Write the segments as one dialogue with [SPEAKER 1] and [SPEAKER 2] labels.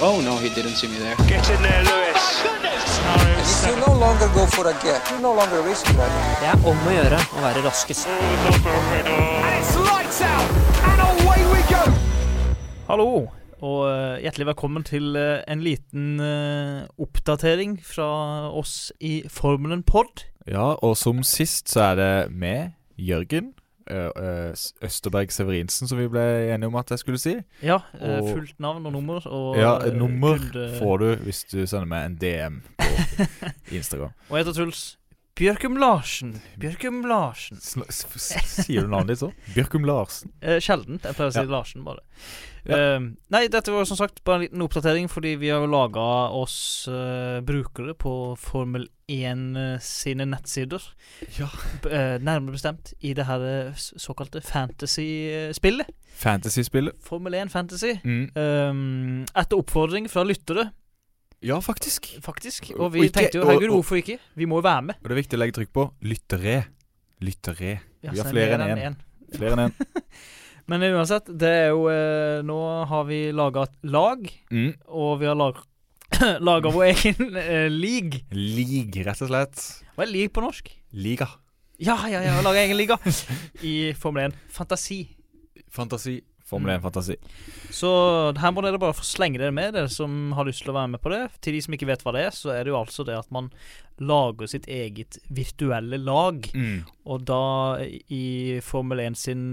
[SPEAKER 1] Oh no, he didn't see me there.
[SPEAKER 2] Get in there, Lewis.
[SPEAKER 3] If you no longer go for a gap, you no longer risk that.
[SPEAKER 4] Det er om å gjøre å være raskest.
[SPEAKER 5] Hallo, og eh, hjertelig velkommen til eh, en liten eh, oppdatering fra oss i Formelen Pod.
[SPEAKER 6] Ja, og som sist så er det meg, Jørgen ø- ø, S- Østerberg Severinsen, som vi ble enige om at jeg skulle si.
[SPEAKER 5] Ja, eh,
[SPEAKER 6] Og-
[SPEAKER 5] fullt navn og nummer. Og,
[SPEAKER 6] Ja,
[SPEAKER 5] eh,
[SPEAKER 6] nummer
[SPEAKER 5] kunde-
[SPEAKER 6] får du hvis du sender meg en DM på Instagram.
[SPEAKER 5] Og jeg heter Truls Bjørkum Larsen. Bjørkum Larsen.
[SPEAKER 6] Sn- s- s- Sier du navnet ditt sånn? Bjørkum Larsen.
[SPEAKER 5] Eh, sjeldent. Jeg pleier å si
[SPEAKER 6] Ja.
[SPEAKER 5] Larsen, bare.
[SPEAKER 6] Ja.
[SPEAKER 5] Eh, nei, dette var som sagt bare en liten oppdatering, fordi vi har laga oss eh, brukere på Formel 1 eh, sine nettsider.
[SPEAKER 6] Ja.
[SPEAKER 5] B- eh, nærmere bestemt i det her eh, s- såkalte fantasy-spillet.
[SPEAKER 6] Fantasyspillet.
[SPEAKER 5] Formel 1 Fantasy.
[SPEAKER 6] Mm.
[SPEAKER 5] Um, etter oppfordring fra lyttere,
[SPEAKER 6] Ja, faktisk.
[SPEAKER 5] faktisk.
[SPEAKER 6] Og
[SPEAKER 5] Og vi
[SPEAKER 6] ikke-
[SPEAKER 5] tenkte jo
[SPEAKER 6] og-
[SPEAKER 5] herregud,
[SPEAKER 6] og-
[SPEAKER 5] hvorfor ikke? Vi må jo være med.
[SPEAKER 6] Og det er viktig å legge trykk på lyttere. Lyttere.
[SPEAKER 5] Ja,
[SPEAKER 6] Vi har
[SPEAKER 5] så det Altså, er
[SPEAKER 6] flere
[SPEAKER 5] mer
[SPEAKER 6] enn
[SPEAKER 5] enn
[SPEAKER 6] én. Flere enn én.
[SPEAKER 5] Men uansett, det er jo eh, Nå har vi laga et lag,
[SPEAKER 6] Mm.
[SPEAKER 5] og vi har lag, laga vår egen eh, league.
[SPEAKER 6] Lig, rett og slett.
[SPEAKER 5] Hva er league på norsk?
[SPEAKER 6] Liga.
[SPEAKER 5] Ja, ja, ja, laga egen liga i Formel 1. Fantasi.
[SPEAKER 6] Fantasi. Formel 1-fantasi.
[SPEAKER 5] Så her må dere bare få slenge dere med, dere som har lyst til å være med på det. Til de som ikke vet hva det er, så er det jo altså det at man lager sitt eget virtuelle lag.
[SPEAKER 6] Mm.
[SPEAKER 5] Og da i Formel 1 sin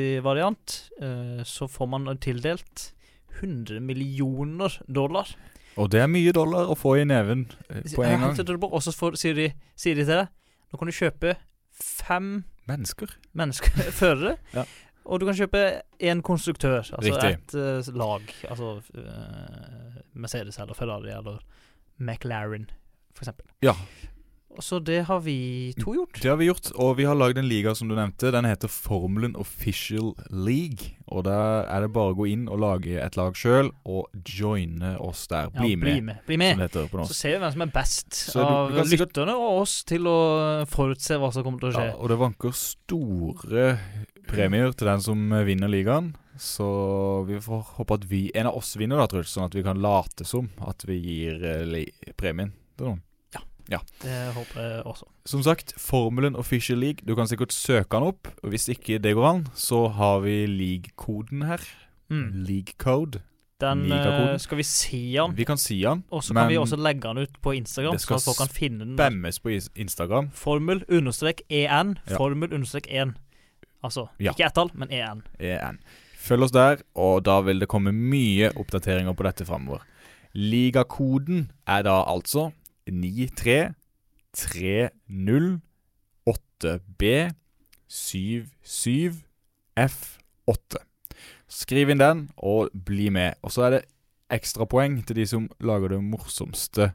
[SPEAKER 5] fantasy-variant, eh, så får man tildelt 100 millioner dollar.
[SPEAKER 6] Og det er mye dollar å få i neven eh, på en gang.
[SPEAKER 5] Og så får- sier de, sier de til deg Nå kan du kjøpe fem
[SPEAKER 6] Mennesker.
[SPEAKER 5] mennesker førere.
[SPEAKER 6] Ja.
[SPEAKER 5] Og du kan kjøpe én konstruktør, altså
[SPEAKER 6] Riktig.
[SPEAKER 5] et eh, lag. Altså eh, Mercedes eller Ferrari eller McLaren, for eksempel.
[SPEAKER 6] Ja. Mm.
[SPEAKER 5] Og så det har vi to gjort.
[SPEAKER 6] Det har vi gjort, og vi har lagd en liga som du nevnte. Den heter Formelen Official League. Og der er det bare å gå inn og lage et lag sjøl, og joine oss der. Bli,
[SPEAKER 5] ja, Bli med.
[SPEAKER 6] med,
[SPEAKER 5] Bli med.
[SPEAKER 6] som det heter
[SPEAKER 5] Så
[SPEAKER 6] på norsk.
[SPEAKER 5] ser vi hvem som er best
[SPEAKER 6] Så du-
[SPEAKER 5] av
[SPEAKER 6] du kan sikkert-
[SPEAKER 5] lytterne og oss til å forutse hva som kommer til å skje.
[SPEAKER 6] Ja, og det vanker store premier til den som eh, vinner ligaen. Så vi får håpe at vi, en av oss vinner, da, Truls, sånn at vi kan late som at vi gir eh, li premien til noen.
[SPEAKER 5] Det håper jeg også.
[SPEAKER 6] Som sagt, formelen Official League. Du kan sikkert søke den opp. og Hvis ikke det går an, så har vi league-koden her.
[SPEAKER 5] Mm.
[SPEAKER 6] League code.
[SPEAKER 5] Den
[SPEAKER 6] Ligakoden.
[SPEAKER 5] eh, skal vi si han,
[SPEAKER 6] Vi kan si den.
[SPEAKER 5] og så kan
[SPEAKER 6] men
[SPEAKER 5] vi også legge den ut på Instagram,
[SPEAKER 6] det
[SPEAKER 5] så
[SPEAKER 6] skal
[SPEAKER 5] at folk kan finne den. der.
[SPEAKER 6] Bemmes på is- Instagram.
[SPEAKER 5] Formel understrek en,
[SPEAKER 6] Ja.
[SPEAKER 5] formel understrek 1. Altså
[SPEAKER 6] Ja.
[SPEAKER 5] ikke ett-tall, men en.
[SPEAKER 6] EN. E Følg oss der, og da vil det komme mye oppdateringer på dette framover. Ligakoden er da altså 9330B77F8. Skriv inn den, og bli med. Og så er det ekstrapoeng til de som lager det morsomste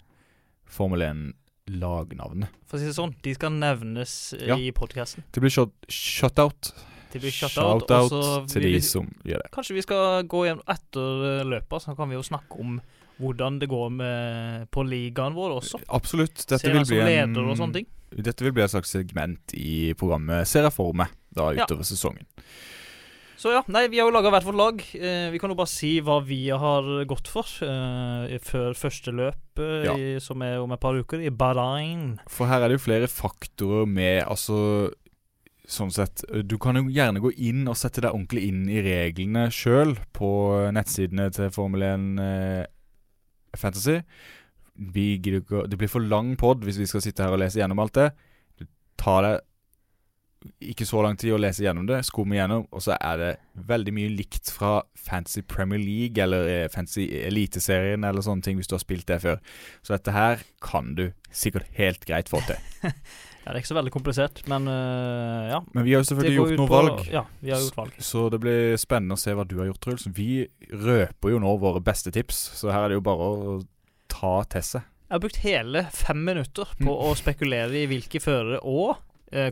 [SPEAKER 6] Formel 1-lagnavnet.
[SPEAKER 5] For å si det sånn, de skal nevnes eh,
[SPEAKER 6] Ja.
[SPEAKER 5] i podkasten.
[SPEAKER 6] Det blir shut- shutout.
[SPEAKER 5] De blir shout-out. og så
[SPEAKER 6] Shout-out til
[SPEAKER 5] vil
[SPEAKER 6] de
[SPEAKER 5] vi-
[SPEAKER 6] som gjør det.
[SPEAKER 5] Kanskje vi skal gå hjem etter eh, løpet, så kan vi jo snakke om hvordan det går med, på ligaen vår også.
[SPEAKER 6] Absolutt.
[SPEAKER 5] Se
[SPEAKER 6] Dette
[SPEAKER 5] hvem
[SPEAKER 6] vil,
[SPEAKER 5] som
[SPEAKER 6] bli en,
[SPEAKER 5] leder og sånne ting.
[SPEAKER 6] dette vil bli et slags segment i programmet Ser jeg for meg da
[SPEAKER 5] Ja.
[SPEAKER 6] utover sesongen.
[SPEAKER 5] Så ja, nei, vi har jo laga hvert vårt lag. Eh, vi kan jo bare si hva vi har gått for eh, før første løp, eh,
[SPEAKER 6] Ja.
[SPEAKER 5] i, som er om et par uker, i Bahrain.
[SPEAKER 6] For her er det jo flere faktorer med Altså sånn sett Du kan jo gjerne gå inn og sette deg ordentlig inn i reglene sjøl på nettsidene til Formel 1 eh, Fantasy. Vi gidder ikke å- Det blir for lang pod hvis vi skal sitte her og lese gjennom alt det. Det tar deg ikke så lang tid å lese gjennom det, skumme gjennom, og så er det veldig mye likt fra Fancy Premier League eller eh, Fancy Eliteserien eller sånne ting, hvis du har spilt det før. Så dette her kan du sikkert helt greit få til.
[SPEAKER 5] Ja, det er ikke så veldig komplisert, men eh, ja.
[SPEAKER 6] Men vi har jo selvfølgelig
[SPEAKER 5] går
[SPEAKER 6] gjort
[SPEAKER 5] ut
[SPEAKER 6] noen
[SPEAKER 5] på-
[SPEAKER 6] valg,
[SPEAKER 5] Ja, vi har gjort valg.
[SPEAKER 6] så det blir spennende å se hva du har gjort, Truls. Vi røper jo nå våre beste tips, så her er det jo bare å ta til seg.
[SPEAKER 5] Jeg har brukt hele fem minutter på
[SPEAKER 6] Mm.
[SPEAKER 5] å spekulere i hvilke førere og eh,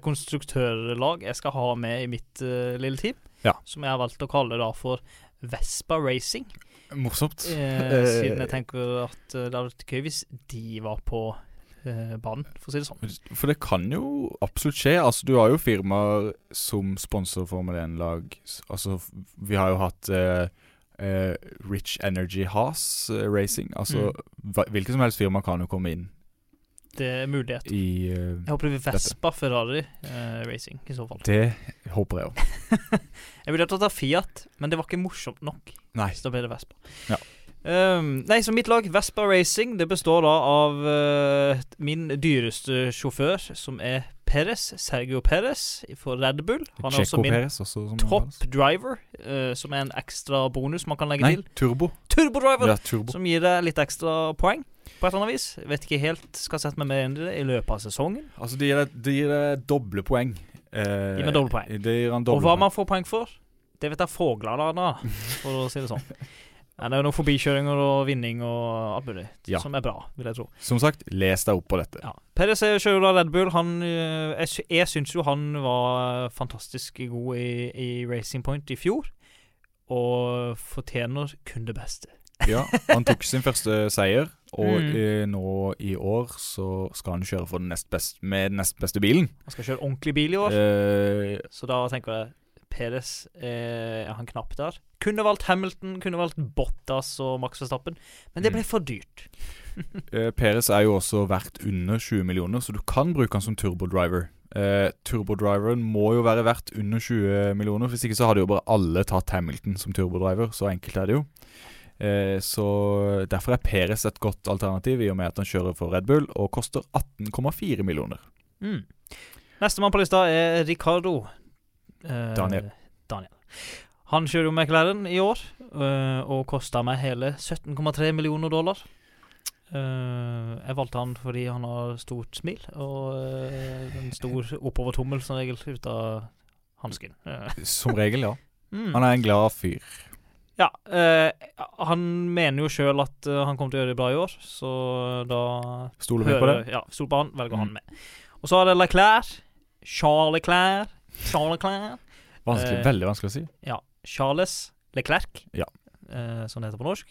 [SPEAKER 5] konstruktørlag jeg skal ha med i mitt eh, lille team,
[SPEAKER 6] Ja.
[SPEAKER 5] som jeg har valgt å kalle da for Vespa Racing,
[SPEAKER 6] Morsomt.
[SPEAKER 5] eh, siden jeg tenker at eh, det hadde vært gøy hvis de var på eh, banen, for å si det sånn.
[SPEAKER 6] For det kan jo absolutt skje. Altså, du har jo firmaer som sponser Formel 1-lag. Altså, f- vi har jo hatt eh, eh, Rich Energy Haas eh, Racing. Altså
[SPEAKER 5] Mm.
[SPEAKER 6] hva- hvilket som helst firma kan jo komme inn
[SPEAKER 5] Det er mulighet.
[SPEAKER 6] i eh,
[SPEAKER 5] Jeg håper det blir Vespa Ferrari eh, Racing, i så fall.
[SPEAKER 6] Det håper jeg om.
[SPEAKER 5] Jeg ville tatt av Fiat, men det var ikke morsomt nok.
[SPEAKER 6] Nei.
[SPEAKER 5] Så da ble det Vespa.
[SPEAKER 6] Ja.
[SPEAKER 5] Ehm, nei, så mitt lag, Vespa Racing, det består da av eh, min dyreste sjåfør, som er Perez, Sergio Perez for Red Bull. Han er også
[SPEAKER 6] Checo
[SPEAKER 5] min
[SPEAKER 6] Perez også. Som
[SPEAKER 5] top driver, eh, som er en ekstra bonus man kan legge
[SPEAKER 6] Nei,
[SPEAKER 5] til.
[SPEAKER 6] Turbo.
[SPEAKER 5] Turbodriver!
[SPEAKER 6] Ja, turbo.
[SPEAKER 5] Som gir deg litt ekstra poeng, på et eller annet vis. Jeg Vet ikke helt, skal sette meg mer inn i det i løpet av sesongen.
[SPEAKER 6] Altså, det gir deg- det gir deg doble poeng. Eh,
[SPEAKER 5] Gi meg doble poeng.
[SPEAKER 6] Det gir
[SPEAKER 5] Og
[SPEAKER 6] han doble
[SPEAKER 5] hva
[SPEAKER 6] poeng.
[SPEAKER 5] man får poeng for, det vet jeg fuglene da, for å si det sånn. Ja, det er jo noen forbikjøringer og vinning og alt mulig,
[SPEAKER 6] Ja.
[SPEAKER 5] som er bra, vil jeg tro.
[SPEAKER 6] Som sagt, les deg opp på dette.
[SPEAKER 5] Ja. Perez er- kjører jo da Red Bull. Han, eh, jeg, sy- jeg syns jo han var fantastisk god i, i Racing Point i fjor, og fortjener kun det beste.
[SPEAKER 6] Ja, Han tok sin første seier, og
[SPEAKER 5] Mm.
[SPEAKER 6] eh, nå i år så skal han kjøre for den nest best, med den nest beste bilen.
[SPEAKER 5] Han skal kjøre ordentlig bil i år,
[SPEAKER 6] Eh,
[SPEAKER 5] så da tenker jeg Perez eh, er han knapp der. Kunne valgt Hamilton, kunne valgt Bottas og Max Verstappen, men det ble
[SPEAKER 6] Mm.
[SPEAKER 5] for dyrt.
[SPEAKER 6] eh, Perez er jo også verdt under 20 millioner, så du kan bruke han som turbodriver. Eh, turbodriveren må jo være verdt under 20 millioner, hvis ikke så hadde jo bare alle tatt Hamilton som turbodriver. Så enkelt er det jo. Eh, så Derfor er Perez et godt alternativ, i og med at han kjører for Red Bull og koster 18,4 millioner.
[SPEAKER 5] Mm. Nestemann på lista er Ricardo. Eh,
[SPEAKER 6] Daniel.
[SPEAKER 5] Daniel. Han kjører jo McLaren i år, eh, og kosta meg hele 17,3 millioner dollar. Eh, jeg valgte han fordi han har stort smil og eh, en stor oppovertommel som regel ut av hansken. Eh,
[SPEAKER 6] Som regel, ja.
[SPEAKER 5] mm.
[SPEAKER 6] Han er en glad fyr.
[SPEAKER 5] Ja, eh, han mener jo sjøl at eh, han kommer til å gjøre det bra i år, så da
[SPEAKER 6] Stoler vi på det?
[SPEAKER 5] Ja, stol på han, velger han
[SPEAKER 6] Mm.
[SPEAKER 5] med. Og så er det Leclerc. Charles Leclerc. Charles Leclerc.
[SPEAKER 6] Vanskelig,
[SPEAKER 5] Eh,
[SPEAKER 6] Veldig vanskelig å si.
[SPEAKER 5] Ja, Charles Leclerc,
[SPEAKER 6] Ja.
[SPEAKER 5] eh, som det heter på norsk.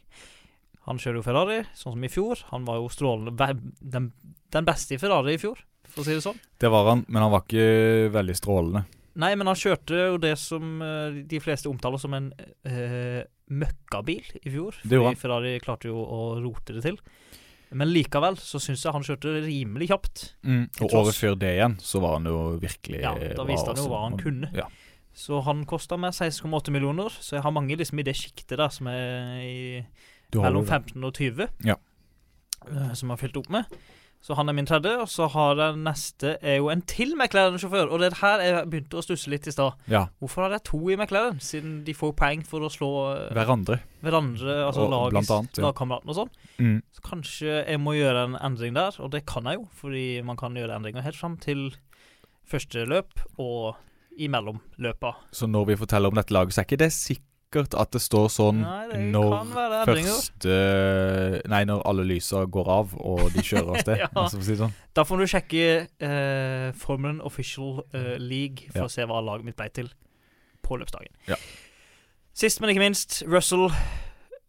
[SPEAKER 5] Han kjører jo Ferrari, sånn som i fjor. Han var jo strålende ve- den, den beste i Ferrari i fjor, for å si det sånn.
[SPEAKER 6] Det var han, men han var ikke veldig strålende.
[SPEAKER 5] Nei, men han kjørte jo det som eh, de fleste omtaler som en eh, møkkabil i fjor.
[SPEAKER 6] Det gjorde han.
[SPEAKER 5] Fordi Ferrari klarte jo å rote det til. Men likevel så syns jeg han kjørte rimelig kjapt. Til
[SPEAKER 6] Mm. Og
[SPEAKER 5] tross-
[SPEAKER 6] året før det igjen, så var han jo virkelig eh,
[SPEAKER 5] Ja, da
[SPEAKER 6] bra
[SPEAKER 5] viste han jo
[SPEAKER 6] også.
[SPEAKER 5] hva han kunne.
[SPEAKER 6] Ja.
[SPEAKER 5] Så han kosta meg 16,8 millioner, så jeg har mange liksom i det sjiktet der som er i,
[SPEAKER 6] Du har
[SPEAKER 5] mellom
[SPEAKER 6] jo-
[SPEAKER 5] 15 og 20,
[SPEAKER 6] Ja.
[SPEAKER 5] eh, som jeg har fylt opp med. Så han er min tredje, og så har jeg neste er jo en til McLaren-sjåfør. Og det er her jeg begynte å stusse litt i stad.
[SPEAKER 6] Ja,
[SPEAKER 5] Hvorfor har jeg to i McLaren, siden de får poeng for å slå eh,
[SPEAKER 6] hverandre.
[SPEAKER 5] hverandre, altså
[SPEAKER 6] Og-
[SPEAKER 5] lagets-
[SPEAKER 6] blant annet, ja.
[SPEAKER 5] lagkameratene og sånn?
[SPEAKER 6] Mm.
[SPEAKER 5] Så kanskje jeg må gjøre en endring der, og det kan jeg jo, fordi man kan gjøre endringer helt fram til første løp og imellom løpa.
[SPEAKER 6] Så når vi forteller om dette laget, så er ikke det sikkert at det står sånn
[SPEAKER 5] Nei, det
[SPEAKER 6] når
[SPEAKER 5] kan være endringer.
[SPEAKER 6] første Nei, når alle lysa går av, og de kjører av sted.
[SPEAKER 5] Ja.
[SPEAKER 6] altså, for å si det sånn.
[SPEAKER 5] Da får du sjekke eh, Formelen Official eh, League for
[SPEAKER 6] Ja.
[SPEAKER 5] å se hva laget mitt ble til på løpsdagen.
[SPEAKER 6] Ja.
[SPEAKER 5] Sist, men ikke minst, Russell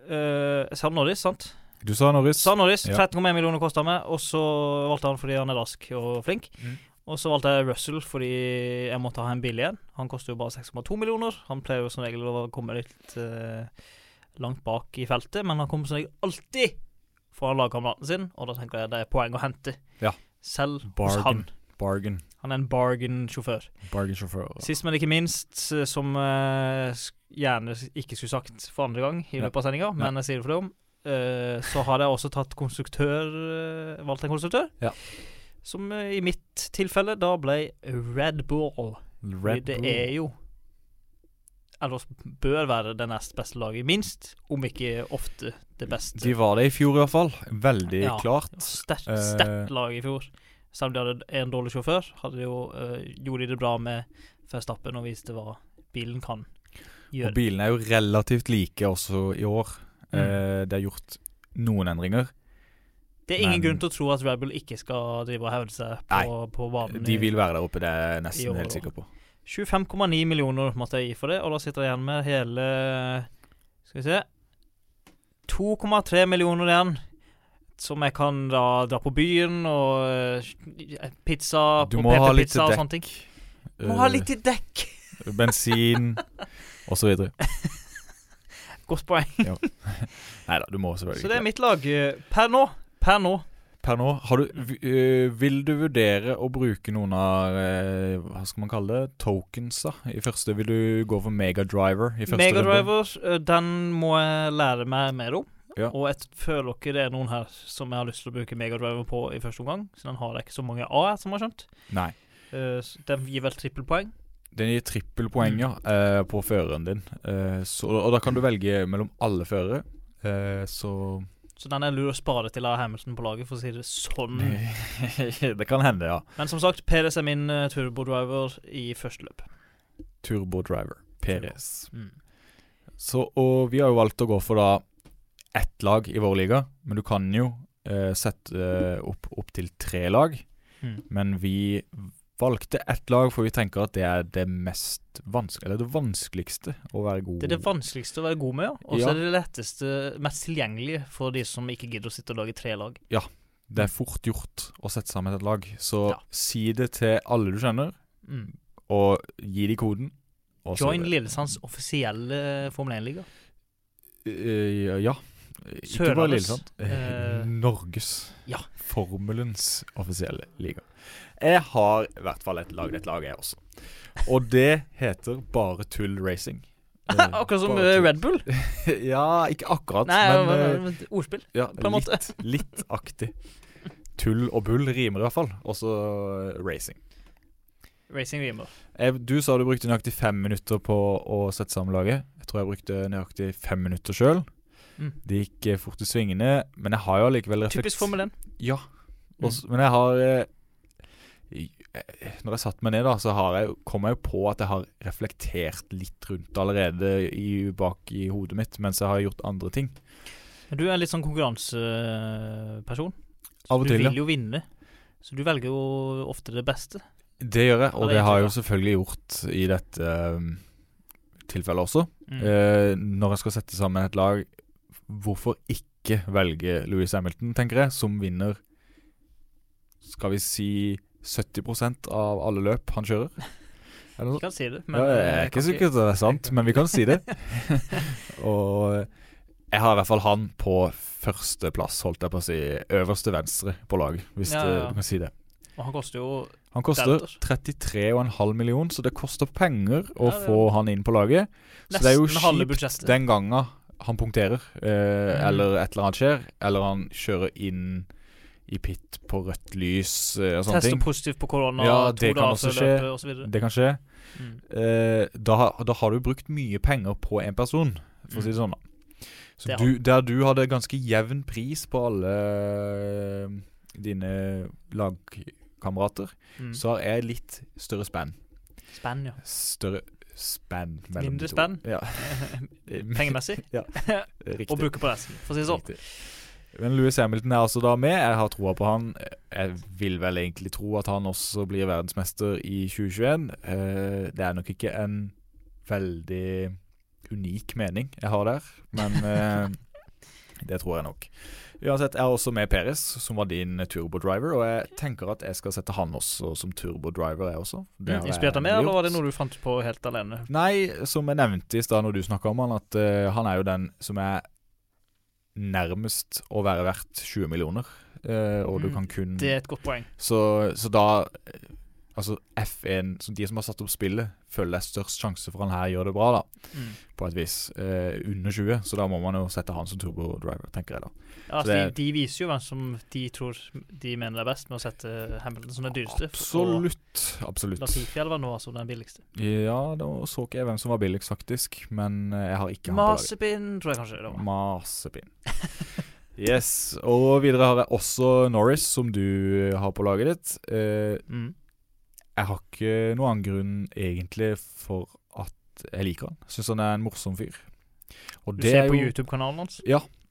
[SPEAKER 5] eh, Sa Norris, sant?
[SPEAKER 6] Du sa Norris.
[SPEAKER 5] Sa Norris.
[SPEAKER 6] Ja.
[SPEAKER 5] 13,1 millioner kosta meg, og så valgte han fordi han er rask og flink.
[SPEAKER 6] Mm.
[SPEAKER 5] Og så valgte jeg Russell fordi jeg måtte ha en billig en. Han koster jo bare 6,2 millioner. Han pleier jo som regel å komme litt eh, langt bak i feltet, men han kommer som regel alltid foran lagkameraten sin, og da tenker jeg det er poeng å hente.
[SPEAKER 6] Ja.
[SPEAKER 5] Selv hos han.
[SPEAKER 6] Bargain. Bargain.
[SPEAKER 5] Han er en bargain-sjåfør.
[SPEAKER 6] Bargain-sjåfør.
[SPEAKER 5] Sist, men ikke minst, eh, som eh, sk- gjerne s- ikke skulle sagt for andre gang i
[SPEAKER 6] Ja.
[SPEAKER 5] løpet av sendinga, men jeg sier det for dem, eh, så har jeg også tatt konstruktør eh, Valgt en konstruktør.
[SPEAKER 6] Ja.
[SPEAKER 5] Som eh, i mitt tilfelle da ble Red Bull.
[SPEAKER 6] Red
[SPEAKER 5] det
[SPEAKER 6] Bull.
[SPEAKER 5] er jo Eller bør være det nest beste laget, minst, om ikke ofte det beste.
[SPEAKER 6] De var det i fjor, i hvert fall. Veldig
[SPEAKER 5] Ja.
[SPEAKER 6] klart.
[SPEAKER 5] Altså, Sterkt
[SPEAKER 6] Eh,
[SPEAKER 5] sterkt lag i fjor. Selv om de hadde en dårlig sjåfør, hadde de jo, eh, gjorde de det bra med Verstappen og viste hva bilen kan
[SPEAKER 6] Og
[SPEAKER 5] gjøre.
[SPEAKER 6] bilene er jo relativt like også i år.
[SPEAKER 5] Mm.
[SPEAKER 6] Eh, det er gjort noen endringer.
[SPEAKER 5] det er ingen
[SPEAKER 6] men-
[SPEAKER 5] grunn til å tro at Red Bull ikke skal drive og hevde seg
[SPEAKER 6] Nei,
[SPEAKER 5] på, på banen.
[SPEAKER 6] De vil være der oppe, det er
[SPEAKER 5] I
[SPEAKER 6] jeg
[SPEAKER 5] år,
[SPEAKER 6] nesten helt
[SPEAKER 5] da.
[SPEAKER 6] sikker på.
[SPEAKER 5] 25,9 millioner måtte jeg gi for det, og da sitter jeg igjen med hele Skal vi se 2,3 millioner igjen. Som jeg kan da dra på byen og eh, pizza
[SPEAKER 6] Du
[SPEAKER 5] og
[SPEAKER 6] må ha litt
[SPEAKER 5] pepperpizza og
[SPEAKER 6] dekk.
[SPEAKER 5] sånne ting. Må ha litt i dekk!
[SPEAKER 6] Eh, bensin og så videre.
[SPEAKER 5] Godt poeng.
[SPEAKER 6] Nei da, du må selvfølgelig
[SPEAKER 5] Så det er
[SPEAKER 6] ikke
[SPEAKER 5] mitt lag eh, per nå. Per nå.
[SPEAKER 6] Per nå, har du, v- øh, vil du vurdere å bruke noen av eh, Hva skal man kalle det? Tokensa? I første vil du gå for Megadriver. i første runde?
[SPEAKER 5] Megadriver, eh, den må jeg lære meg mer om.
[SPEAKER 6] Ja.
[SPEAKER 5] Og jeg føler ikke det er noen her som jeg har lyst til å bruke Megadriver på i første omgang. Så den har jeg ikke så mange A, jeg, som har skjønt.
[SPEAKER 6] Nei.
[SPEAKER 5] Eh, s- den gir vel trippelpoeng.
[SPEAKER 6] Den gir trippelpoenger eh, på føreren din. Eh, så, og da kan du velge mellom alle førere. Eh, så
[SPEAKER 5] Så den er lur å spare til jeg har Hamilton på laget, for å si det sånn.
[SPEAKER 6] Det kan hende, ja.
[SPEAKER 5] Men som sagt, Perez er min eh, turbodriver i første løp.
[SPEAKER 6] Turbo driver. Perez.
[SPEAKER 5] Mm.
[SPEAKER 6] Så, og vi har jo valgt å gå for da ett lag i vår liga, men du kan jo eh, sette eh, opp, opp til tre lag.
[SPEAKER 5] Mm.
[SPEAKER 6] Men vi valgte ett lag, for vi tenker at det er det mest vanskelig, eller det vanskeligste å være god
[SPEAKER 5] Det er det vanskeligste å være god med, ja. og så
[SPEAKER 6] Ja.
[SPEAKER 5] er det det letteste, mest tilgjengelige for de som ikke gidder å sitte og lage tre lag.
[SPEAKER 6] Det er fort gjort å sette sammen et lag, så
[SPEAKER 5] Ja.
[SPEAKER 6] si det til alle du kjenner,
[SPEAKER 5] Mm.
[SPEAKER 6] og gi de koden. og så-
[SPEAKER 5] Join Lillesands offisielle Formel 1-liga.
[SPEAKER 6] Eh, ja. Ikke
[SPEAKER 5] Sørlandets,
[SPEAKER 6] bare Lillesand.
[SPEAKER 5] eh,
[SPEAKER 6] Norges.
[SPEAKER 5] ja.
[SPEAKER 6] Formelens offisielle liga. Jeg har i hvert fall et, lagd et lag, jeg også. Og det heter Bare Tull Racing. Eh,
[SPEAKER 5] Akkurat som eh,
[SPEAKER 6] bare tull.
[SPEAKER 5] Red Bull.
[SPEAKER 6] Ja, ikke akkurat,
[SPEAKER 5] Nei,
[SPEAKER 6] men
[SPEAKER 5] men,
[SPEAKER 6] eh,
[SPEAKER 5] men, ordspill.
[SPEAKER 6] ja,
[SPEAKER 5] på en måte.
[SPEAKER 6] Litt, litt aktig. Tull og bull rimer i hvert fall. Også eh, racing.
[SPEAKER 5] Racing Reamer.
[SPEAKER 6] Jeg, du sa du brukte nøyaktig fem minutter på å sette sammen laget. Jeg tror jeg brukte nøyaktig fem minutter sjøl.
[SPEAKER 5] Mm.
[SPEAKER 6] Det gikk eh, fort i svingene, men jeg har jo allikevel reflekt-
[SPEAKER 5] Typisk Formel 1.
[SPEAKER 6] Ja. Og s- Men jeg har eh, i- eh, Når jeg satt meg ned, da, så har jeg, kom jeg jo på at jeg har reflektert litt rundt det allerede i, bak i hodet mitt mens jeg har gjort andre ting.
[SPEAKER 5] Men Du er litt sånn konkurranseperson.
[SPEAKER 6] Av og
[SPEAKER 5] Du
[SPEAKER 6] til, ja.
[SPEAKER 5] vil jo vinne, så du velger jo ofte det beste.
[SPEAKER 6] Det gjør jeg,
[SPEAKER 5] Ja,
[SPEAKER 6] og
[SPEAKER 5] det
[SPEAKER 6] det
[SPEAKER 5] er
[SPEAKER 6] har jeg
[SPEAKER 5] helt
[SPEAKER 6] jo selvfølgelig gjort i dette eh, tilfellet også.
[SPEAKER 5] Mm.
[SPEAKER 6] Eh, når jeg skal sette sammen et lag, hvorfor ikke velge Louis Hamilton, tenker jeg, som vinner Skal vi si 70 av alle løp han kjører? Eller noe
[SPEAKER 5] Jeg eh, kan si det,
[SPEAKER 6] ja, det er ikke sikkert det er sant, men vi kan si det. og eh, jeg har i hvert fall han på førsteplass, holdt jeg på å si. Øverste venstre på laget, hvis
[SPEAKER 5] Ja,
[SPEAKER 6] det,
[SPEAKER 5] ja.
[SPEAKER 6] du kan si det.
[SPEAKER 5] Og han koster jo
[SPEAKER 6] Han koster
[SPEAKER 5] Deltas.
[SPEAKER 6] 33,5 million, så det koster penger å
[SPEAKER 5] Ja, det-
[SPEAKER 6] få han inn på laget. Så det er jo
[SPEAKER 5] nesten halve
[SPEAKER 6] kjipt
[SPEAKER 5] budsjettet.
[SPEAKER 6] den gangen han punkterer,
[SPEAKER 5] eh,
[SPEAKER 6] eh,
[SPEAKER 5] Mm.
[SPEAKER 6] eller et eller annet skjer, eller han kjører inn i pit på rødt lys eh, og sånne
[SPEAKER 5] Tester
[SPEAKER 6] ting.
[SPEAKER 5] positivt på korona
[SPEAKER 6] Ja,
[SPEAKER 5] to
[SPEAKER 6] det kan
[SPEAKER 5] dager
[SPEAKER 6] også
[SPEAKER 5] før
[SPEAKER 6] skje.
[SPEAKER 5] løpet og så videre.
[SPEAKER 6] Det kan skje.
[SPEAKER 5] Mm.
[SPEAKER 6] Eh, da, ha- da har du brukt mye penger på en person, for å si det sånn. da Så
[SPEAKER 5] Mm. Det har
[SPEAKER 6] du, Der du hadde ganske jevn pris på alle eh, dine lagkamerater,
[SPEAKER 5] Mm.
[SPEAKER 6] så har jeg litt større spenn.
[SPEAKER 5] Spenn, ja.
[SPEAKER 6] Større spenn mellom
[SPEAKER 5] Mindre
[SPEAKER 6] de to.
[SPEAKER 5] spenn?
[SPEAKER 6] Ja,
[SPEAKER 5] Pengemessig.
[SPEAKER 6] riktig.
[SPEAKER 5] Og bruke på resten, for å si det sånn.
[SPEAKER 6] Riktig. Men Louis Hamilton er altså da med. Jeg har troa på han. Jeg vil vel egentlig tro at han også blir verdensmester i 2021. Eh, Det er nok ikke en veldig unik mening jeg har der, men eh, det tror jeg nok. Uansett, jeg har også med Peres, som var din turbodriver, og jeg tenker at jeg skal sette han også som turbodriver, jeg også. Det har
[SPEAKER 5] Mm. Inspirert av
[SPEAKER 6] jeg
[SPEAKER 5] meg, eller var det
[SPEAKER 6] gjort. Mm.
[SPEAKER 5] noe du fant på helt alene?
[SPEAKER 6] Nei, som jeg nevnte i stad når du snakka om han, at eh, han er jo den som er nærmest å være verdt 20 millioner. eh, og du
[SPEAKER 5] Mm,
[SPEAKER 6] kan kun
[SPEAKER 5] Det er et godt poeng.
[SPEAKER 6] så, så da eh, Altså F1, så de som har satt opp spillet, føler det er størst sjanse for han her gjør det bra, da,
[SPEAKER 5] Mm.
[SPEAKER 6] på et vis. Eh, under 20, så da må man jo sette han som turbodriver, tenker jeg da.
[SPEAKER 5] Ja,
[SPEAKER 6] Så
[SPEAKER 5] altså,
[SPEAKER 6] det-
[SPEAKER 5] de, de viser jo hvem som de tror de mener er best, med å sette Hamilton som den dyreste.
[SPEAKER 6] Absolutt.
[SPEAKER 5] Og
[SPEAKER 6] Absolutt.
[SPEAKER 5] Latifi eller hva nå, altså den billigste.
[SPEAKER 6] Ja, da så ikke jeg hvem som var billigst, faktisk, men eh, jeg har ikke han på laget.
[SPEAKER 5] Masepin, tror jeg kanskje det var.
[SPEAKER 6] Masepinn. Yes. Og videre har jeg også Norris, som du har på laget ditt. Eh,
[SPEAKER 5] Mm.
[SPEAKER 6] jeg har ikke noen annen grunn egentlig for at jeg liker han. Syns han er en morsom fyr. Og
[SPEAKER 5] Du
[SPEAKER 6] det,
[SPEAKER 5] ser
[SPEAKER 6] er
[SPEAKER 5] på
[SPEAKER 6] jo,
[SPEAKER 5] YouTube-kanalen hans.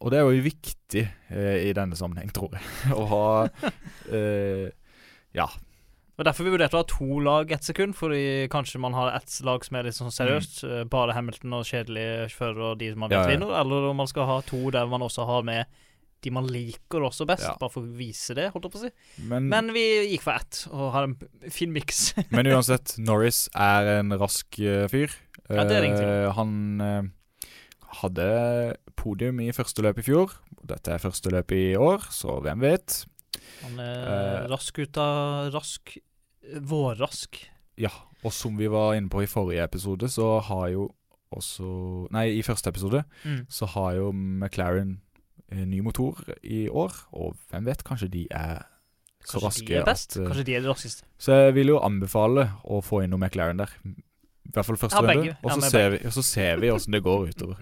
[SPEAKER 6] og det er jo viktig eh, i denne sammenheng, tror jeg, å ha eh, Ja.
[SPEAKER 5] Og Derfor vi vurderte å ha to lag ett sekund, fordi kanskje man har ett lag som er litt sånn seriøst. eh, Bare Hamilton og kjedelige førere og de som man vet
[SPEAKER 6] Mm. Ja, ja.
[SPEAKER 5] vinner. Eller om man skal ha to der man også har med de man liker også best,
[SPEAKER 6] Ja. Mm.
[SPEAKER 5] bare for å vise det, holdt jeg på å si.
[SPEAKER 6] Men, men,
[SPEAKER 5] Men vi gikk for ett, og har en fin miks.
[SPEAKER 6] uansett, Norris er en rask eh, fyr.
[SPEAKER 5] Ja, det er det ingen tvil
[SPEAKER 6] Eh, han eh, hadde podium i første løp i fjor. Dette er første løp i år, så hvem vet?
[SPEAKER 5] Han er
[SPEAKER 6] Eh.
[SPEAKER 5] rask ut av Rask. Vårrask.
[SPEAKER 6] Ja, og som vi var inne på i forrige episode, så har jo også Nei, i første episode
[SPEAKER 5] Mm.
[SPEAKER 6] så har jo McLaren eh, ny motor i år, og hvem vet, kanskje de er så
[SPEAKER 5] Kanskje
[SPEAKER 6] raske
[SPEAKER 5] de er best?
[SPEAKER 6] at eh,
[SPEAKER 5] Kanskje de er de raskeste?
[SPEAKER 6] Så jeg vil jo anbefale å få inn noe McLaren der. I hvert fall første
[SPEAKER 5] Ja, begge.
[SPEAKER 6] runde.
[SPEAKER 5] Ja,
[SPEAKER 6] Og så
[SPEAKER 5] men
[SPEAKER 6] ser, vi- og så ser vi åssen det går utover.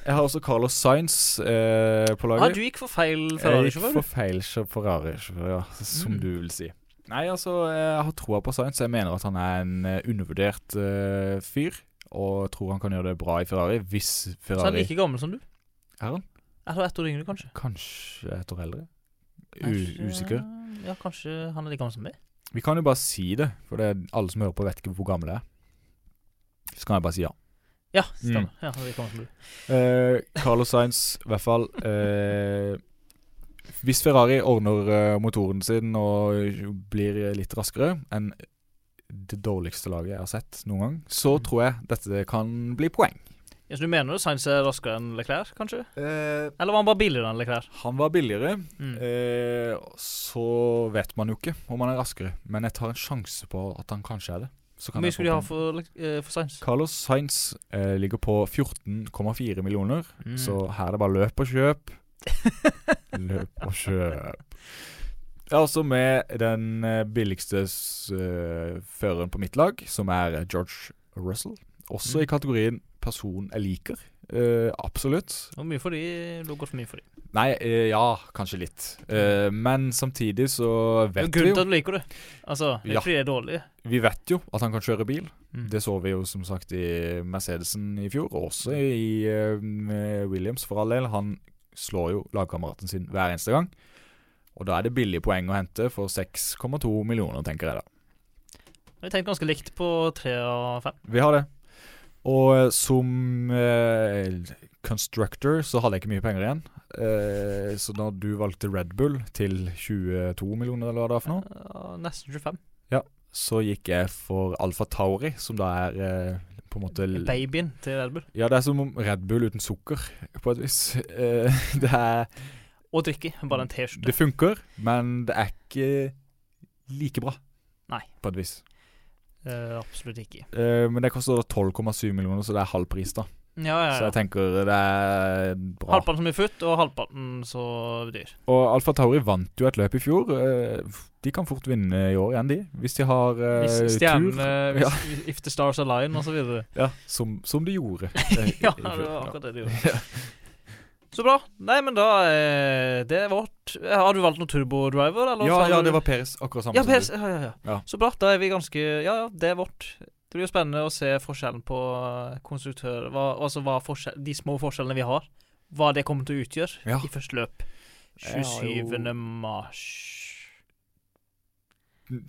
[SPEAKER 6] Jeg har også Carlos Sainz eh, på
[SPEAKER 5] Ah,
[SPEAKER 6] laget.
[SPEAKER 5] du gikk for feil
[SPEAKER 6] jeg gikk
[SPEAKER 5] Ferrari-sjåfør,
[SPEAKER 6] for
[SPEAKER 5] du.
[SPEAKER 6] feil sjå- Ferrari-sjåfør, ja, som
[SPEAKER 5] Mm.
[SPEAKER 6] du vil si. Nei, altså, jeg har troa på Sainz. Jeg mener at han er en eh, undervurdert eh, fyr. Og tror han kan gjøre det bra i Ferrari, hvis
[SPEAKER 5] Så han er
[SPEAKER 6] Ferrari
[SPEAKER 5] like gammel som du.
[SPEAKER 6] Er han
[SPEAKER 5] Eller ett år yngre, kanskje.
[SPEAKER 6] kanskje et år eldre?
[SPEAKER 5] Kanskje-
[SPEAKER 6] U usikker.
[SPEAKER 5] Ja, kanskje han er like gammel som meg.
[SPEAKER 6] Vi kan jo bare si det, for det er alle som hører på, vet ikke hvor gamle jeg er. Så kan jeg bare si ja.
[SPEAKER 5] Ja,
[SPEAKER 6] Mm.
[SPEAKER 5] stemmer. Ja, han er like gammel som du.
[SPEAKER 6] Eh, Carlos Sainz, i hvert fall. eh, hvis Ferrari ordner eh, motoren sin og blir litt raskere enn det dårligste laget jeg har sett noen gang, så
[SPEAKER 5] Mm.
[SPEAKER 6] tror jeg dette kan bli poeng.
[SPEAKER 5] Ja, så du mener jo Sainz er raskere enn Leclerc, kanskje? Eller var han bare billigere enn Leclerc?
[SPEAKER 6] han var billigere,
[SPEAKER 5] Mm.
[SPEAKER 6] eh, så vet man jo ikke om han er raskere. Men jeg tar en sjanse på at han kanskje er det. Så
[SPEAKER 5] Hvor
[SPEAKER 6] kan jeg
[SPEAKER 5] mye
[SPEAKER 6] få
[SPEAKER 5] skulle de ha
[SPEAKER 6] poeng.
[SPEAKER 5] for, Lec- eh, for Sainz?
[SPEAKER 6] Carlos Sainz eh, ligger på 14,4 millioner.
[SPEAKER 5] Mm.
[SPEAKER 6] Så her er det bare løp og kjøp. Løp og kjøp. Jeg er også med den eh, billigste s- eh, føreren på mitt lag, som er eh, George Russell. Også
[SPEAKER 5] Mm.
[SPEAKER 6] i kategorien person jeg liker. Eh, absolutt.
[SPEAKER 5] Hvor mye for de? Du har gått for mye for de.
[SPEAKER 6] Nei, eh, ja, kanskje litt. Eh, men samtidig så
[SPEAKER 5] Det er jo
[SPEAKER 6] vet vi
[SPEAKER 5] Mm. grunnen til
[SPEAKER 6] jo
[SPEAKER 5] at du liker det. Altså, det er
[SPEAKER 6] Ja.
[SPEAKER 5] ikke fordi de er dårlige.
[SPEAKER 6] Vi vet jo at han kan kjøre bil.
[SPEAKER 5] Mm.
[SPEAKER 6] Det så vi jo som sagt i Mercedesen i fjor, og også i eh, med Williams for all del. Han slår jo lagkameraten sin hver eneste gang. Og da er det billige poeng å hente for 6,2 millioner, tenker jeg da.
[SPEAKER 5] Vi har tenkt ganske likt på tre av fem.
[SPEAKER 6] Vi har det. Og eh, som eh, constructor så hadde jeg ikke mye penger igjen. Eh, så da du valgte Red Bull til 22 millioner, eller hva det var for noe,
[SPEAKER 5] Ja, nesten 25.
[SPEAKER 6] så gikk jeg for Alfa Tauri, som da er eh, på en måte
[SPEAKER 5] Babyen til Red Bull.
[SPEAKER 6] Ja, det er som om Red Bull uten sukker, på et vis. Eh, Det, er,
[SPEAKER 5] Og drikke. Bare en
[SPEAKER 6] det
[SPEAKER 5] T-skjorte.
[SPEAKER 6] funker, men det er ikke like bra.
[SPEAKER 5] Nei.
[SPEAKER 6] På et vis.
[SPEAKER 5] Eh, absolutt ikke.
[SPEAKER 6] Eh, Men det koster da 12,7 millioner, så det er halv pris, da.
[SPEAKER 5] Ja, ja,
[SPEAKER 6] Så
[SPEAKER 5] ja.
[SPEAKER 6] jeg tenker det er bra.
[SPEAKER 5] Halvparten så mye futt, og halvparten så dyr.
[SPEAKER 6] Og Alfa Tauri vant jo et løp i fjor. Eh, De kan fort vinne i år igjen, de. Hvis de har eh,
[SPEAKER 5] Hvis
[SPEAKER 6] tur.
[SPEAKER 5] stjernene hvis- If the stars align, og så videre.
[SPEAKER 6] Ja, som, som de gjorde. eh, i-
[SPEAKER 5] Ja,
[SPEAKER 6] i
[SPEAKER 5] det
[SPEAKER 6] fjor.
[SPEAKER 5] var akkurat det de gjorde. Så bra. Nei, men da eh, Det er vårt. Eh, Har du valgt noen turbodriver, eller?
[SPEAKER 6] Ja,
[SPEAKER 5] tar
[SPEAKER 6] ja,
[SPEAKER 5] du-
[SPEAKER 6] det var Peres. Akkurat samme
[SPEAKER 5] Ja,
[SPEAKER 6] som du.
[SPEAKER 5] PS, ja, ja, ja.
[SPEAKER 6] Ja.
[SPEAKER 5] Så bra. Da er vi ganske Ja, ja, det er vårt. Det blir jo spennende å se forskjellen på eh, konstruktører hva, Altså hva forskjell, de små forskjellene vi har, hva det kommer til å utgjøre
[SPEAKER 6] Ja.
[SPEAKER 5] i første løp.
[SPEAKER 6] Jeg har
[SPEAKER 5] 27.
[SPEAKER 6] jo-
[SPEAKER 5] mars.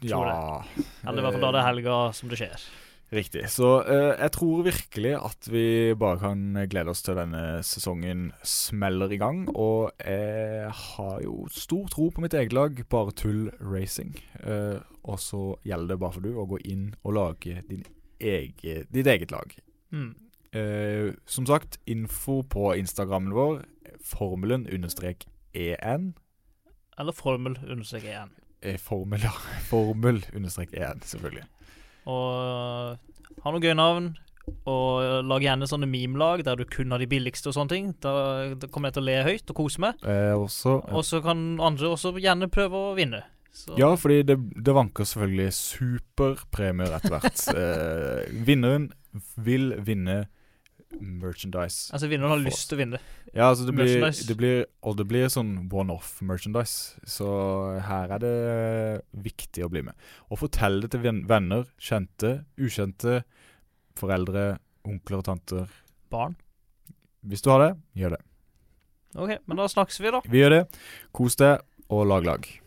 [SPEAKER 5] tror
[SPEAKER 6] Ja.
[SPEAKER 5] Eller i hvert fall da det er
[SPEAKER 6] Eh.
[SPEAKER 5] helga som det skjer.
[SPEAKER 6] Riktig. Så eh, jeg tror virkelig at vi bare kan glede oss til denne sesongen smeller i gang. Og jeg har jo stor tro på mitt eget lag, bare tull racing. Eh, og så gjelder det bare for du å gå inn og lage din ege, ditt eget lag.
[SPEAKER 5] Mm.
[SPEAKER 6] Eh, som sagt, info på Instagrammen vår, formelen understrek E en.
[SPEAKER 5] Eller formel understreker 1.
[SPEAKER 6] Eh, formel, ja. Formel understrek en, selvfølgelig.
[SPEAKER 5] Og eh, ha noen gøye navn. Og eh, lag gjerne sånne memelag der du kun har de billigste og sånne ting. Da, da kommer jeg til å le høyt og kose meg.
[SPEAKER 6] Eh, også
[SPEAKER 5] Og så kan andre også gjerne prøve å vinne. Så.
[SPEAKER 6] Ja, fordi det, det vanker selvfølgelig superpremier etter hvert. eh, vinneren vil vinne merchandise.
[SPEAKER 5] Altså vinneren har lyst til å vinne.
[SPEAKER 6] Ja, altså det blir,
[SPEAKER 5] merchandise.
[SPEAKER 6] det blir Og det blir sånn one-off merchandise. Så her er det viktig å bli med. Og fortell det til ven- venner, kjente, ukjente, foreldre, onkler og tanter.
[SPEAKER 5] Barn.
[SPEAKER 6] Hvis du har det, gjør det.
[SPEAKER 5] OK, men da snakkes vi, da.
[SPEAKER 6] Vi gjør det. Kos deg, og lag lag.